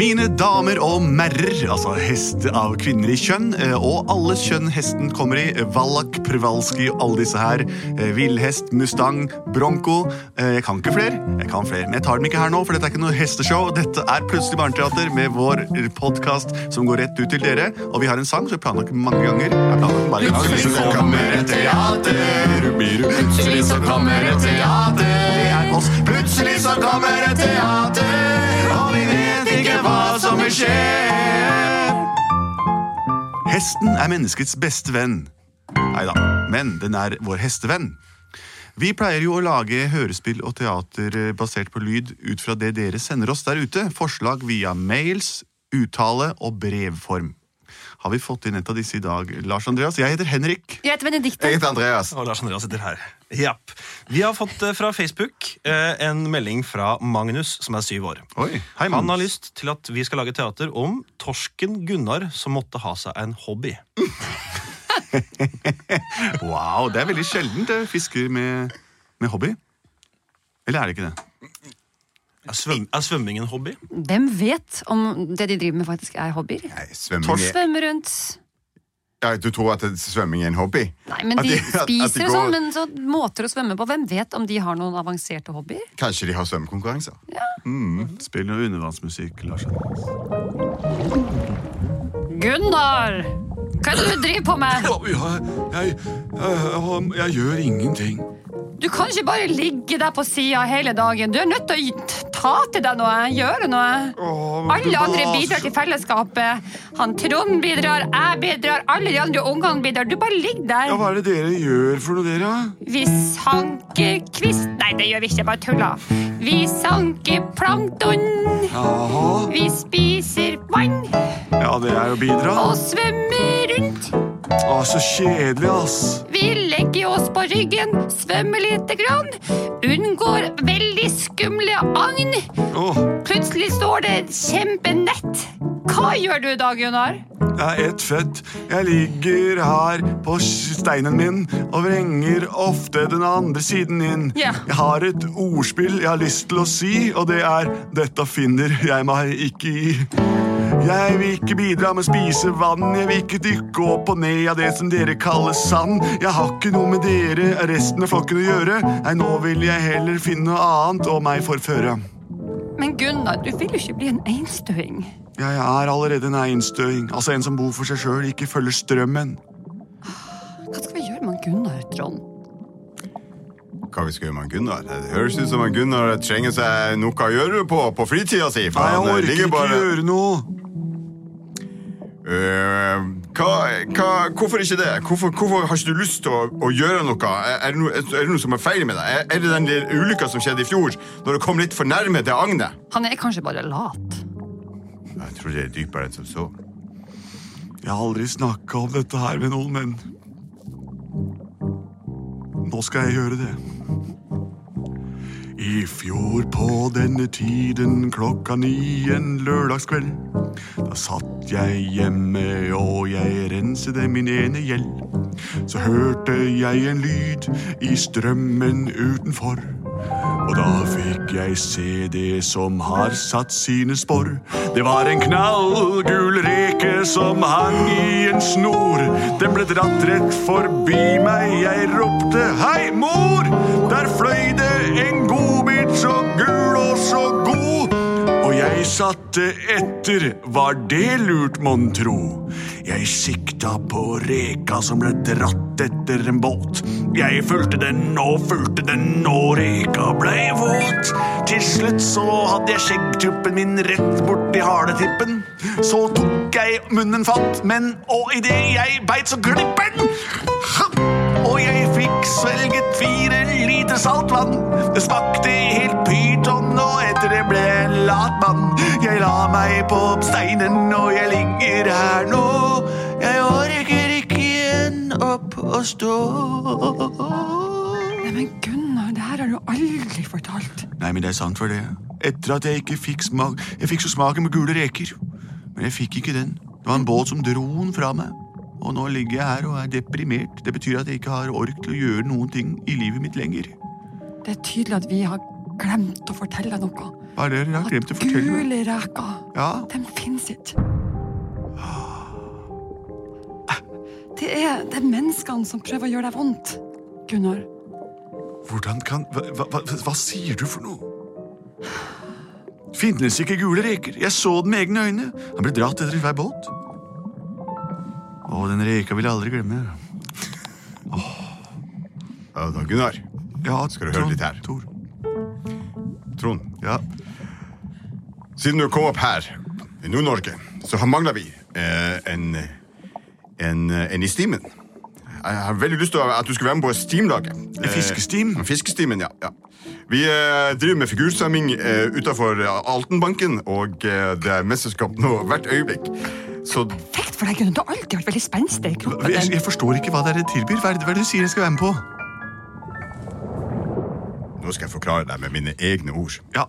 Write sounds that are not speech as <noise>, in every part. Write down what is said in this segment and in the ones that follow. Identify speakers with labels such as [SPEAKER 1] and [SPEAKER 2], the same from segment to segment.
[SPEAKER 1] Mine damer og merrer, altså hest av kvinner i kjønn, eh, og alle kjønn hesten kommer i, eh, Wallach, Przewalski, alle disse her, eh, villhest, mustang, bronco eh, Jeg kan ikke flere, jeg kan flere, men jeg tar dem ikke her nå, for dette er ikke noe hesteshow. Dette er Plutselig barneteater med vår podkast som går rett ut til dere, og vi har en sang som vi planlagt mange ganger. Jeg har planlagt bare en gang.
[SPEAKER 2] Plutselig så kommer et teater. Plutselig så kommer et teater.
[SPEAKER 1] Det er oss.
[SPEAKER 2] Plutselig så kommer et teater, og vi vet ikke hva som vil skje.
[SPEAKER 1] Hesten er menneskets beste venn. Nei da, men den er vår hestevenn. Vi pleier jo å lage hørespill og teater eh, basert på lyd ut fra det dere sender oss der ute. Forslag via mails, uttale og brevform. Har vi fått inn et av disse i dag, Lars Andreas? Jeg heter Henrik.
[SPEAKER 3] Jeg heter Benedikte.
[SPEAKER 2] Jeg heter Andreas.
[SPEAKER 4] Og Lars Andreas sitter her. Japp. Vi har fått eh, fra Facebook eh, en melding fra Magnus, som er syv år.
[SPEAKER 1] Oi, hei, Magnus.
[SPEAKER 4] Han har lyst til at vi skal lage teater om torsken Gunnar som måtte ha seg en hobby.
[SPEAKER 1] Wow, det er veldig sjeldent eh, fisker med, med hobby. Eller er det ikke det?
[SPEAKER 4] Er, svøm er svømming en hobby?
[SPEAKER 3] Eh, Hvem vet om det de driver med, faktisk er hobbyer?
[SPEAKER 2] Nei, svømming
[SPEAKER 1] Torsk.
[SPEAKER 2] er,
[SPEAKER 3] Svømme rundt
[SPEAKER 2] ja, Du tror at svømming er en hobby?
[SPEAKER 3] Nei, men
[SPEAKER 2] At
[SPEAKER 3] de
[SPEAKER 2] de- at- at de
[SPEAKER 3] spiser og
[SPEAKER 2] går-
[SPEAKER 3] sånn, men så måter å svømme på. Hvem vet om de har noen avanserte hobbyer?
[SPEAKER 2] Kanskje de har svømmekonkurranser?
[SPEAKER 1] Spill noe undervannsmusikk, Lars Andreas.
[SPEAKER 3] Gunnar! Hva er det du driver på med?
[SPEAKER 1] Jeg, gjør ingenting.
[SPEAKER 3] Du kan ikke bare ligge der på sida hele dagen. Du er nødt til å ta til deg noe, gjøre noe. Alle andre bidrar til fellesskapet. Han Trond bidrar, jeg bidrar, alle de andre ungene bidrar. Du bare ligger der.
[SPEAKER 1] Hva er det dere gjør for noe, dere?
[SPEAKER 3] Vi sanker kvist Nei, det gjør vi ikke, jeg bare tulla. Vi sanker plankton. Vi spiser vann
[SPEAKER 1] Ja, det er å bidra.
[SPEAKER 3] og svømmer rundt.
[SPEAKER 1] Å, så kjedelig, ass.
[SPEAKER 3] Vi legger oss på ryggen, svømmer lite grann. Unngår veldig skumle agn.
[SPEAKER 1] Å,
[SPEAKER 3] Plutselig står det et kjempenett. Hva gjør du da, Gunnar?
[SPEAKER 1] jeg er ett født. Jeg ligger her på steinen min og vrenger ofte den andre siden inn.
[SPEAKER 3] Ja.
[SPEAKER 1] Jeg har et ordspill jeg har lyst til å si, og det er 'Dette finner jeg meg ikke i'. Jeg vil ikke bidra med å spise vann, jeg vil ikke dykke opp og ned av det som dere kaller sand. Jeg har ikke noe med dere, resten av flokken, å gjøre. Nei, nå vil jeg heller finne noe annet og meg forføre.
[SPEAKER 3] Men Gunnar, du vil jo ikke bli en einstøing.
[SPEAKER 1] Jeg er allerede en einstøing, altså en som bor for seg sjøl, ikke følger strømmen.
[SPEAKER 3] Hva skal vi gjøre med han Gunnar, Trond?
[SPEAKER 2] Hva vi skal gjøre med han Gunnar? Det høres ut som han Gunnar trenger seg noe å gjøre på på fritida si. for
[SPEAKER 1] Nei, jeg
[SPEAKER 2] han, eh,
[SPEAKER 1] orker
[SPEAKER 2] ligger
[SPEAKER 1] ikke
[SPEAKER 2] bare-
[SPEAKER 1] gjøre noe.
[SPEAKER 2] Eh, hva, hva, hvorfor ikke det? Hvorfor, hvorfor har ikke du lyst til å, å gjøre noe? Er, er, det noe, er det noe som er feil med deg? Er, er det den lille ulykka som skjedde i fjor, når du kom litt for nærme til agnet?
[SPEAKER 3] Han er kanskje bare lat.
[SPEAKER 2] Jeg tror det er dypere enn som så.
[SPEAKER 1] Jeg har aldri snakka om dette her med noen, men Nå skal jeg gjøre det. I fjor på denne tiden klokka ni en lørdagskveld. Da satt jeg hjemme og jeg rensede min ene gjeld. Så hørte jeg en lyd i strømmen utenfor. Og da fikk jeg se det som har satt sine spor. Det var en knallgul reke som hang i en snor. Den ble dratt rett forbi meg. Jeg ropte 'Hei, mor!' Der fløy det en godbit så gul og så god. Og jeg satte etter, var det lurt, mon tro? Jeg sikta på reka som ble dratt etter en båt. Jeg fulgte den og fulgte den, og reka blei våt. Til slutt så hadde jeg skjeggtuppen min rett borti haletippen. Så tok jeg munnen fatt, men og idet jeg beit, så glipper den! Ha! Og jeg fikk svelget fire liter saltvann. Det smakte helt pyton, og etter det ble jeg en lat mann. Jeg la meg på steinen, og jeg ligger her nå. Jeg orker ikke igjen opp å stå.
[SPEAKER 3] Nei, men Gunnar, det her har du aldri fortalt.
[SPEAKER 1] Nei, men det er sant for det. Etter at jeg ikke fikk smak Jeg fikk så smaken med gule reker. Men jeg fikk ikke den. Det var en båt som dro den fra meg. Og nå ligger jeg her og er deprimert. Det betyr at jeg ikke har ork til å gjøre noen ting i livet mitt lenger.
[SPEAKER 3] Det er tydelig at vi har glemt å fortelle deg noe.
[SPEAKER 1] Hva er det dere har glemt å
[SPEAKER 3] At
[SPEAKER 1] fortelle meg?
[SPEAKER 3] gule reker,
[SPEAKER 1] Ja,
[SPEAKER 3] de fins ikke. Det er, det er menneskene som prøver å gjøre deg vondt, Gunnar.
[SPEAKER 1] hvordan kan hva, hva, hva, hva sier du for noe? Finnes ikke gule reker. Jeg så den med egne øyne. Han ble dratt etter i hver båt. Å, den reka vil jeg aldri glemme.
[SPEAKER 2] Ja, da, Gunnar.
[SPEAKER 1] Ja,
[SPEAKER 2] Skal du høre
[SPEAKER 1] Trond,
[SPEAKER 2] litt her?
[SPEAKER 1] Tor.
[SPEAKER 2] Trond.
[SPEAKER 1] Ja.
[SPEAKER 2] Siden du kom opp her, i Nord-Norge, så har mangla vi eh, en, en, en i stimen. Jeg har veldig lyst til at du skulle være med på Steam-laget.
[SPEAKER 1] En fiskestim?
[SPEAKER 2] Eh, fiskestimen, ja. ja. Vi eh, driver med figurstemming eh, utafor Altenbanken, og eh, det er mesterskap nå hvert øyeblikk. Så
[SPEAKER 3] Perfekt for deg, Gunnar. Du har alltid vært veldig spenstig i kroppen.
[SPEAKER 1] Jeg, jeg forstår ikke hva dere tilbyr. Hva er det hva er det du sier jeg skal være med på?
[SPEAKER 2] nå skal jeg forklare deg med mine egne ord.
[SPEAKER 1] Ja,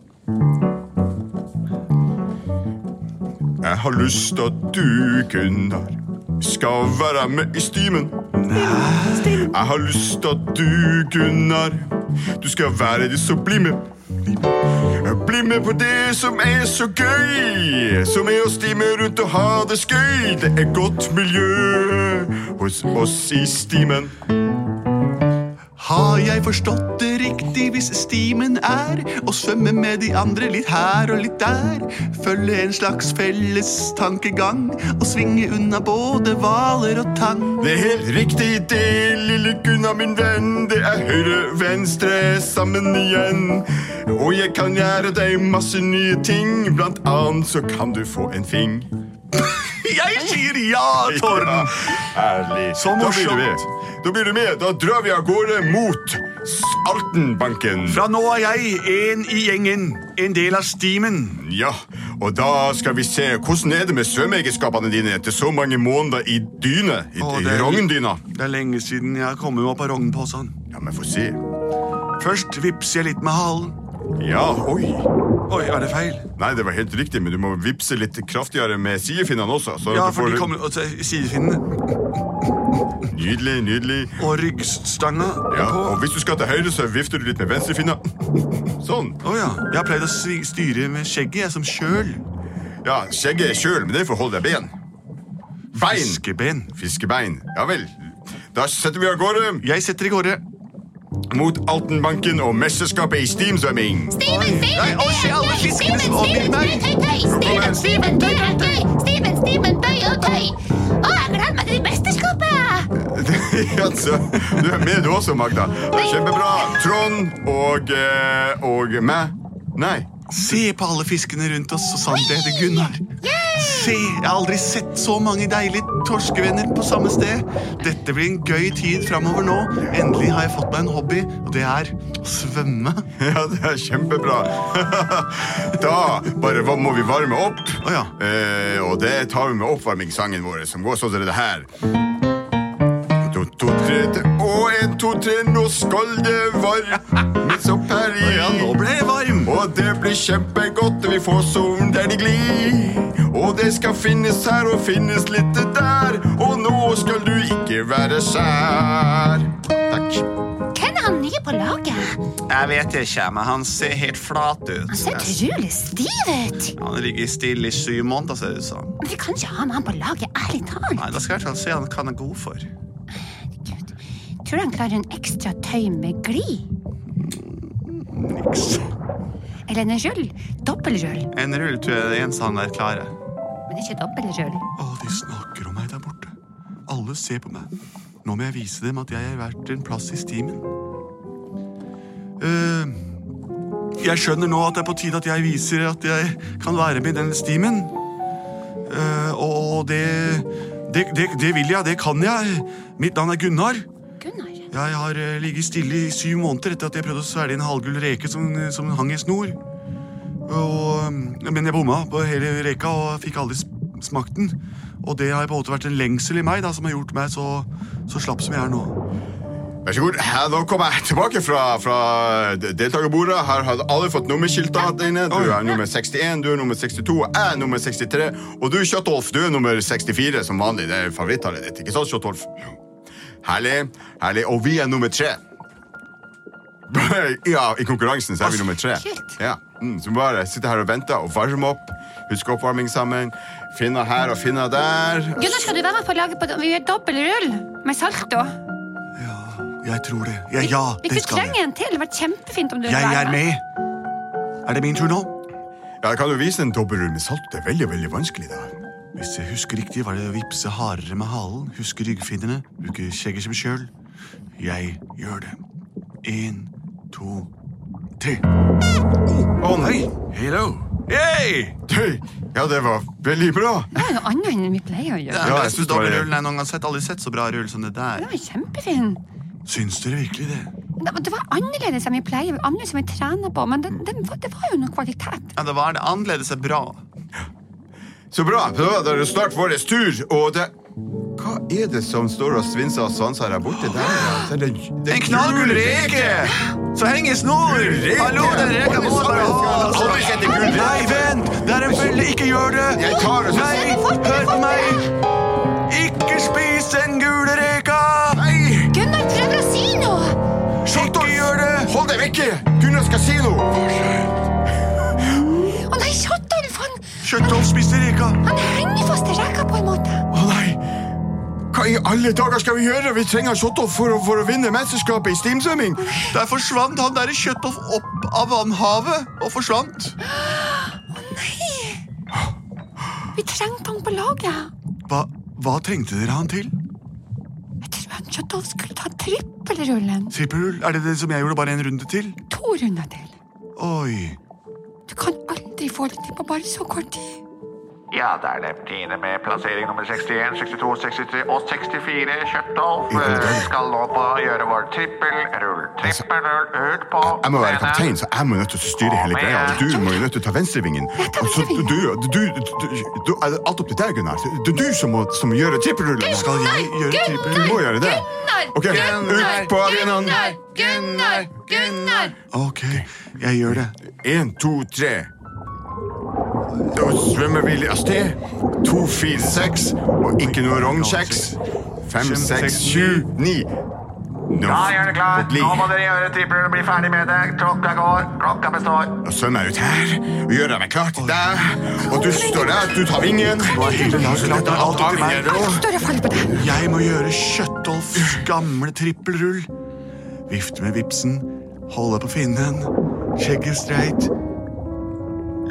[SPEAKER 2] Jeg har lyst til at du, Gunnar, skal være med i stimen. Jeg har lyst til at du, Gunnar, du skal være de som blir med. Bli med på det som er så gøy, som er å stime rundt og ha det skøy. Det er godt miljø hos oss i stimen.
[SPEAKER 1] Har jeg forstått det riktig hvis stimen er å svømme med de andre litt her og litt der? Følge en slags felles tankegang og svinge unna både hvaler og tang.
[SPEAKER 2] Det er helt riktig det, lille Gunnar, min venn. Det er høyre, venstre, sammen igjen. Og jeg kan lære deg masse nye ting. Blant annet så kan du få en fing.
[SPEAKER 1] Jeg sier ja, Torden!
[SPEAKER 2] Ærlig.
[SPEAKER 1] Så
[SPEAKER 2] Da
[SPEAKER 1] morsomt.
[SPEAKER 2] blir du med. Da blir du med. Da drar vi av gårde mot Altenbanken.
[SPEAKER 1] Fra nå er jeg en i gjengen, en del av stimen.
[SPEAKER 2] Ja, og da skal vi se hvordan er det med svømmeegenskapene dine etter så mange måneder i dyne. I,
[SPEAKER 1] Å,
[SPEAKER 2] i
[SPEAKER 1] det er-
[SPEAKER 2] rogndyna.
[SPEAKER 1] Det er lenge siden jeg har kommet meg opp av rognposen.
[SPEAKER 2] Ja, men få se.
[SPEAKER 1] Først vipser jeg litt med halen.
[SPEAKER 2] Ja, oi.
[SPEAKER 1] Oi, var det feil?
[SPEAKER 2] Nei, det var helt riktig, men du må vippse litt kraftigere med sidefinnene også. Så
[SPEAKER 1] Ja,
[SPEAKER 2] du
[SPEAKER 1] for
[SPEAKER 2] får
[SPEAKER 1] de kommer og tar sidefinnene.
[SPEAKER 2] Nydelig, nydelig.
[SPEAKER 1] Og ryggstanga
[SPEAKER 2] Ja,
[SPEAKER 1] på.
[SPEAKER 2] og hvis du skal til høyre, så vifter du litt med venstrefinna. <laughs> Sånn.
[SPEAKER 1] Å ja. Jeg har pleid å svi- styre med skjegget, jeg, som kjøl.
[SPEAKER 2] Ja, skjegget er kjøl, men det får holde deg ben. Bein.
[SPEAKER 1] Fiskeben.
[SPEAKER 2] Fiskebein. Ja vel. Da setter vi av gårde
[SPEAKER 1] Jeg setter i gårde.
[SPEAKER 2] mot Altenbanken og mesterskapet i <laughs> steamsvømming.
[SPEAKER 1] Nei,
[SPEAKER 5] Steven, Steven,
[SPEAKER 1] å, se alle fiskene som omgir meg.
[SPEAKER 5] Steven, Steven, du er gøy! Steven, Steven, bøy og tøy! Å, jeg gleder meg til mesterskapet!
[SPEAKER 2] altså, du er med du også, Magda. Det er Kjempebra. Trond og eh, og meg. Nei. <laughs>
[SPEAKER 1] Se på alle fiskene rundt oss, så sant det heter Gunnar. Se, jeg har aldri sett så mange deilige torskevenner på samme sted. Dette blir en gøy tid framover nå. Endelig har jeg fått meg en hobby, og det er å svømme.
[SPEAKER 2] Ja, det er kjempebra. <laughs> da bare hva må vi varme opp.
[SPEAKER 1] Å ja.
[SPEAKER 2] Eh, og det tar vi med oppvarmingssangen vår, som går sånn som det her. To, to, tre, tre. Og en, to, tre, nå skal det varmes opp her i
[SPEAKER 1] Ja, nå ble jeg varm.
[SPEAKER 2] og det blir kjempegodt, og vi får solen der de glir. Og det skal finnes her og finnes litt der, og nå skal du ikke være skjær. Takk.
[SPEAKER 5] Hvem er han nye på laget?
[SPEAKER 6] Jeg vet ikke, men han ser helt flat ut.
[SPEAKER 5] Han ser utrolig stiv ut.
[SPEAKER 6] Han ligger stille i syv måneder, ser det ut som.
[SPEAKER 5] Men vi kan ikke ha med han på laget, ærlig talt.
[SPEAKER 6] Nei, Da skal jeg i hvert fall se han hva han er god for.
[SPEAKER 5] Gud, Tror du han klarer en ekstra tøy med glid?
[SPEAKER 6] Niks.
[SPEAKER 5] Eller en rull? Dobbelrull.
[SPEAKER 6] En rull tror jeg er det
[SPEAKER 1] sånn
[SPEAKER 6] eneste han der klarer.
[SPEAKER 5] Men ikke dobbelrull.
[SPEAKER 1] Å, de snakker om meg der borte. Alle ser på meg. Nå må jeg vise dem at jeg har vært en plass i stimen. Eh, jeg skjønner nå at det er på tide at jeg viser at jeg kan være med i den stimen. Eh, og og det, det, det Det vil jeg, det kan jeg. Mitt navn er Gunnar.
[SPEAKER 5] Gunnar.
[SPEAKER 1] Jeg har eh, ligget stille i syv måneder etter at jeg prøvde å svelge en halvgull reke som, som hang i snor. Og, eh, men jeg bomma på hele reka og fikk aldri sm- smakt den. Og det har på en måte vært en lengsel i meg da, som har gjort meg så, så slapp som jeg er nå.
[SPEAKER 2] Vær så god. Ja, da kommer jeg tilbake fra, fra de- deltakerbordet. Her har alle fått nummerskilter der inne. Du er nummer 61, du er nummer 62, og jeg er nummer 63. Og du, Kjøttolf, du er nummer 64 som vanlig. Det er favorittallet ditt, ikke sant, Kjøttolf? Herlig. herlig. Og vi er nummer tre. <laughs> ja, i konkurransen så er vi nummer tre.
[SPEAKER 3] Shit.
[SPEAKER 2] Ja. Mm, så bare sitte her og vente og varme opp. Husk oppvarming sammen. Finne her og finne der.
[SPEAKER 3] Gunnar, skal du være med på laget på Vi gjør dobbeltrull med salto.
[SPEAKER 1] Jeg tror det. Ja, ja Ah, det
[SPEAKER 3] Hvis du
[SPEAKER 1] skal
[SPEAKER 3] trenger
[SPEAKER 1] jeg.
[SPEAKER 3] en til, det hadde vært kjempefint om du ville
[SPEAKER 1] Jeg
[SPEAKER 3] være
[SPEAKER 1] er med. Er det min tur nå?
[SPEAKER 2] Ja, jeg kan jo vise en dobbeltrull med salt. Det er veldig, veldig vanskelig da.
[SPEAKER 1] Hvis jeg husker riktig, var det å vipse hardere med halen, huske ryggfinnene, bruke skjegget som kjøl. Jeg gjør det. En, to, tre.
[SPEAKER 2] Å nei!
[SPEAKER 1] Hello!
[SPEAKER 6] Hey!
[SPEAKER 2] Tøy. Ja, det var veldig bra.
[SPEAKER 3] Det er noe annet enn vi pleier å gjøre.
[SPEAKER 6] Den
[SPEAKER 2] Ja, jeg
[SPEAKER 6] beste
[SPEAKER 2] synes det var-
[SPEAKER 6] dobbeltrullen jeg noen gang har sett. Aldri sett så bra rull som det der.
[SPEAKER 3] Det var kjempefin.
[SPEAKER 1] Syns dere virkelig det?
[SPEAKER 3] Det var- det var annerledes enn vi pleier, annerledes enn vi trener på, men det, det, var, det var jo noe kvalitet.
[SPEAKER 6] Ja, det var det. Annerledes er bra.
[SPEAKER 2] Så bra. Da er det snart vår tur, og det Hva er det som står og svinser og svanser her borte? Der, ja. Så er det, det er
[SPEAKER 6] En knallgul reke! Så heng i snor!
[SPEAKER 2] Reke!
[SPEAKER 6] Hallo, den reka må du bare
[SPEAKER 2] Alle sammen skal aldri
[SPEAKER 6] ha!
[SPEAKER 2] sette gull.
[SPEAKER 1] Nei, vent! Det er en felle! Ikke gjør det!
[SPEAKER 2] Jeg tar det så-
[SPEAKER 1] Nei, hør på meg! Ikke spis den gule reka! Nei!
[SPEAKER 5] Gunnar prøver å si noe!
[SPEAKER 1] Ikke gjør det!
[SPEAKER 2] Hold deg vekke! Gunnar skal si noe.
[SPEAKER 5] Å nei, Kjotolf, han,
[SPEAKER 1] Kjøttolf spiste reka.
[SPEAKER 5] han henger fast i rekka på en måte.
[SPEAKER 2] Å nei! Hva i alle dager skal vi gjøre? Vi trenger Sjottoff for, å- for å vinne mesterskapet i stimsvømming.
[SPEAKER 6] Der forsvant han der i Kjøttolf opp av vannhavet og forsvant.
[SPEAKER 3] Vi trengte han på laget.
[SPEAKER 1] Hva, hva trengte dere han til?
[SPEAKER 3] Jeg tror han Kjøttolf skulle ta trippelrullen.
[SPEAKER 1] Trippelhull? Er det det som jeg gjorde, bare en runde til?
[SPEAKER 3] To runder til.
[SPEAKER 1] Oi.
[SPEAKER 3] Du kan aldri få det til på bare så kort tid.
[SPEAKER 7] Ja, der er Neptine med plassering nummer 61, 62, 63 og 64. Kjørtolf eh, skal nå på å gjøre vår trippelrull. Trippelrull ut på
[SPEAKER 2] Altså, Jeg må være kaptein, så jeg må nødt til å styre hele greia. og Du må jo nødt til å ta venstrevingen. Og så du, du, du, du, du er det Alt opp til deg, Gunnar. Det er du som må, som må gjøre trippelrullen.
[SPEAKER 1] Skal jeg gjøre
[SPEAKER 2] Du
[SPEAKER 1] trippelhull?
[SPEAKER 2] må gjøre det. Ok, ut på arenaen.
[SPEAKER 5] Gunnar, Gunnar!
[SPEAKER 1] Ok, jeg gjør det.
[SPEAKER 2] En, to, tre. Da svømmer vi av sted. To, fire, seks. Og ikke noe rognkjeks. Fem, seks, sju, ni. Nå,
[SPEAKER 7] Da gjør det klart.
[SPEAKER 2] blir-
[SPEAKER 7] Nå må dere gjøre trippelrull og bli ferdig med det. Klokka går. Klokka består.
[SPEAKER 2] Nå svømmer jeg ut her og gjør meg klar til deg. Og du står der, du tar vingen.
[SPEAKER 1] klart, det er alt opp til meg.
[SPEAKER 2] Alt
[SPEAKER 3] Står og faller på deg.
[SPEAKER 1] Jeg må gjøre Kjøttolfs gamle trippelrull. Vifte med vipsen, holde på finnen, skjegget streit.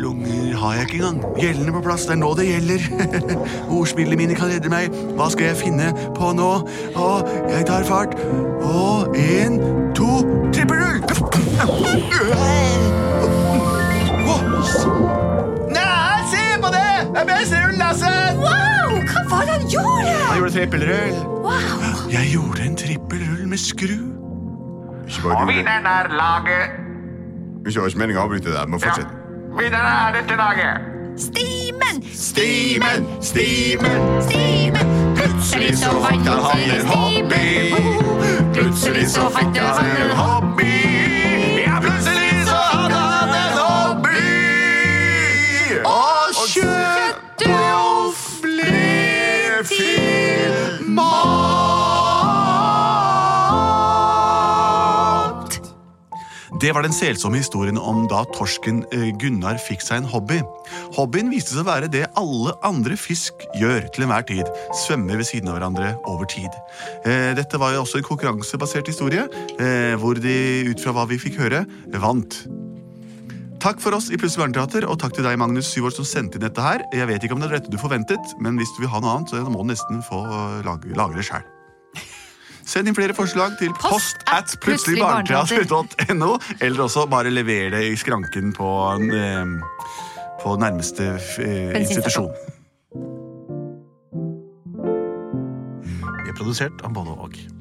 [SPEAKER 1] Lunger har jeg ikke engang. Gjellene på plass, det er nå det gjelder. <laughs> Ordspillene mine kan redde meg. Hva skal jeg finne på nå? Å, jeg tar fart. Og en, to, trippelrull! <laughs>
[SPEAKER 6] Nei, se på det! Det er best rull, altså. Lasse!
[SPEAKER 5] Wow, hva var det han gjorde?
[SPEAKER 6] Han gjorde trippelrull.
[SPEAKER 5] Wow,
[SPEAKER 1] Jeg gjorde en trippelrull med skru.
[SPEAKER 7] Og vinneren er laget.
[SPEAKER 2] Hvis jeg har ikke meningen å avbryte deg, må
[SPEAKER 7] Ja.
[SPEAKER 2] fortsette.
[SPEAKER 7] Vinneren er dette laget.
[SPEAKER 5] Stimen,
[SPEAKER 2] Stimen, stimen,
[SPEAKER 5] Stimen!
[SPEAKER 2] plutselig så fikk han en hobby. Plutselig så fikk han en hobby. Ja, plutselig så hadde han en hobby. Og Kjøttolf ble til mat.
[SPEAKER 1] Det var den selsomme historien om da torsken eh, Gunnar fikk seg en hobby. Hobbyen viste seg å være det alle andre fisk gjør til enhver tid. Svømmer ved siden av hverandre over tid. Eh, Dette var jo også en konkurransebasert historie, eh, hvor de, ut fra hva vi fikk høre, vant. Takk for oss i Plutselig barneteater, og takk til deg, Magnus Syvård, som sendte inn dette her. Jeg vet ikke om det er dette du forventet, men hvis du vil ha noe annet, så må du nesten få eh, lage, lage det sjøl. Send inn flere forslag til
[SPEAKER 3] Post
[SPEAKER 1] post at
[SPEAKER 3] at
[SPEAKER 1] plutseligbarneteater.no, eller også bare lever det i skranken på, en, eh, på nærmeste eh, institusjon.
[SPEAKER 4] Vi er produsert av både og.